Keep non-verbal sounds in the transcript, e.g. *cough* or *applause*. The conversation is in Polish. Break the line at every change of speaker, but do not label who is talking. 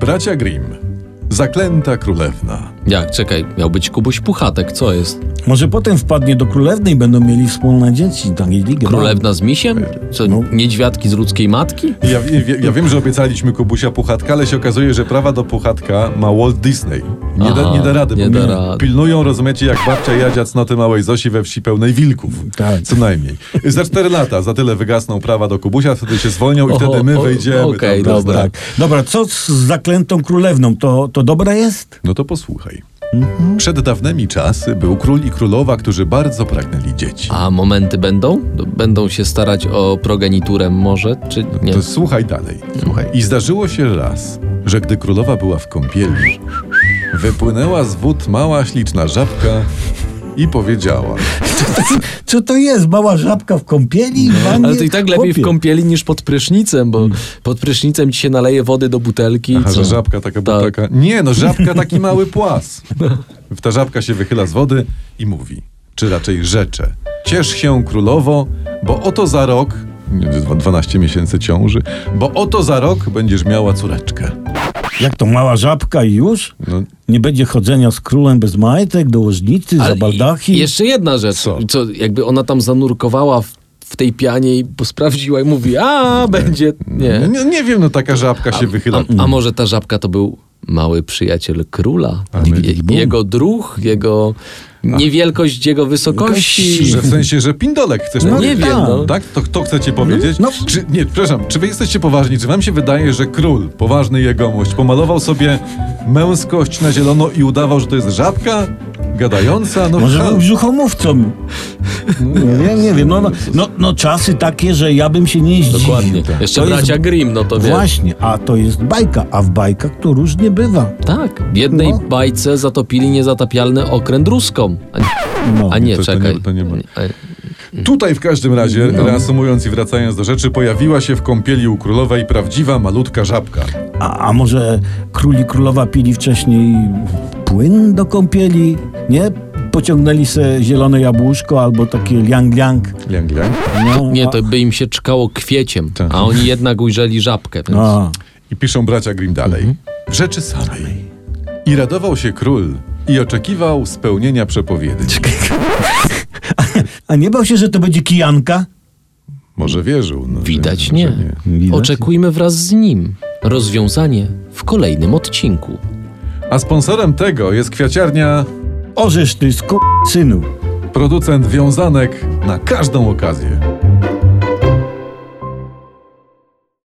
Bracia Grimm. Zaklęta królewna.
Jak, czekaj, miał być Kubuś Puchatek, co jest?
No.
Może potem wpadnie do królewnej i będą mieli wspólne dzieci. Tak, i ligę.
Królewna z misiem? Co,
No.
niedźwiadki z ludzkiej matki?
Ja, ja, ja wiem, że obiecaliśmy Kubusia Puchatka, ale się okazuje, że prawa do Puchatka ma Walt Disney. Nie, da,
Aha,
nie da rady, bo
nie da
mi-
rady.
pilnują, rozumiecie, jak babcia jadzia cnoty małej Zosi we wsi pełnej wilków.
Tak.
Co najmniej. Za cztery lata, za tyle wygasną prawa do Kubusia, wtedy się zwolnią i
O,
wtedy my
o,
wejdziemy.
okej,
tam,
dobra.
tak.
Tak. Dobra, co z zaklętą królewną? To, to dobra jest?
No to posłuchaj. Przed dawnymi czasy był król i królowa, którzy bardzo pragnęli dzieci.
A momenty będą? Będą się starać o progeniturę może, czy nie?
No To słuchaj dalej. Słuchaj. I zdarzyło się raz, że gdy królowa była w kąpieli, wypłynęła z wód mała, śliczna żabka i powiedziała:
Co to jest? Mała żabka w kąpieli? Wannie?
Ale to i tak lepiej
Chłopie.
w kąpieli niż pod prysznicem, bo pod prysznicem ci się naleje wody do butelki. i
Hmm. Aha,
co?
że żabka taka była
Tak.
taka. Nie, no żabka taki mały płas. Ta żabka się wychyla z wody i mówi, czy raczej rzecze. Ciesz się królowo, bo oto za rok, nie, dwa- 12 miesięcy ciąży, bo oto za rok będziesz miała córeczkę.
Jak to mała żabka i już?
No,
Nie będzie chodzenia z królem bez majtek, do łożnicy,
Ale
za baldachim?
i- Jeszcze jedna rzecz.
Co?
Co? jakby ona tam zanurkowała w, w tej pianie i sprawdziła i mówi, a będzie. Nie.
nie, nie wiem, no taka żabka się wychyla.
A, a może ta żabka to był mały przyjaciel króla?
my-
Je, jego druch, jego niewielkość, jego wysokości.
Że w sensie, że pindolek chcesz
No
powiedzieć.
nie wiem, no.
Tak? To kto chce ci powiedzieć?
No.
Czy, nie, przepraszam, czy wy jesteście poważni? Czy wam się wydaje, że król, poważny jegomość, pomalował sobie męskość na zielono i udawał, że to jest żabka? Gadająca? No
Może
ha-
był brzuchomówcą. Nie, nie wiem. No, no, no, no czasy takie, że ja bym się nie zdziwił.
Dokładnie. Jeszcze
To
bracia Grimm, no to wie.
Właśnie, a to jest bajka, a w bajkach to różnie bywa.
Tak, w jednej
No.
bajce zatopili niezatapialny okręt ruską. A,
No.
a nie,
to- to nie-
czekaj. Mm. No.
to nie ma.
A-
Tutaj w każdym razie, reasumując i wracając do rzeczy, pojawiła się w kąpieli u królowej prawdziwa, malutka żabka.
A, a może król i królowa pili wcześniej płyn do kąpieli? Nie? Pociągnęli se zielone jabłuszko albo takie liang-liang.
Liang, liang.
No,
Nie, to by im się czkało kwieciem,
Tak. No.
a oni jednak ujrzeli żabkę. Więc...
A, *laughs*
I piszą bracia Grimm dalej.
Mhm.
W rzeczy samej. I radował się król i oczekiwał spełnienia przepowiedni.
a nie bał się, że to będzie kijanka?
Może wierzył. No,
Widać
że-
nie.
że
Widać.
Oczekujmy wraz z nim. Rozwiązanie w kolejnym odcinku.
A sponsorem tego jest kwiaciarnia,
Orzesz ty, sku... synu.
producent wiązanek na każdą okazję.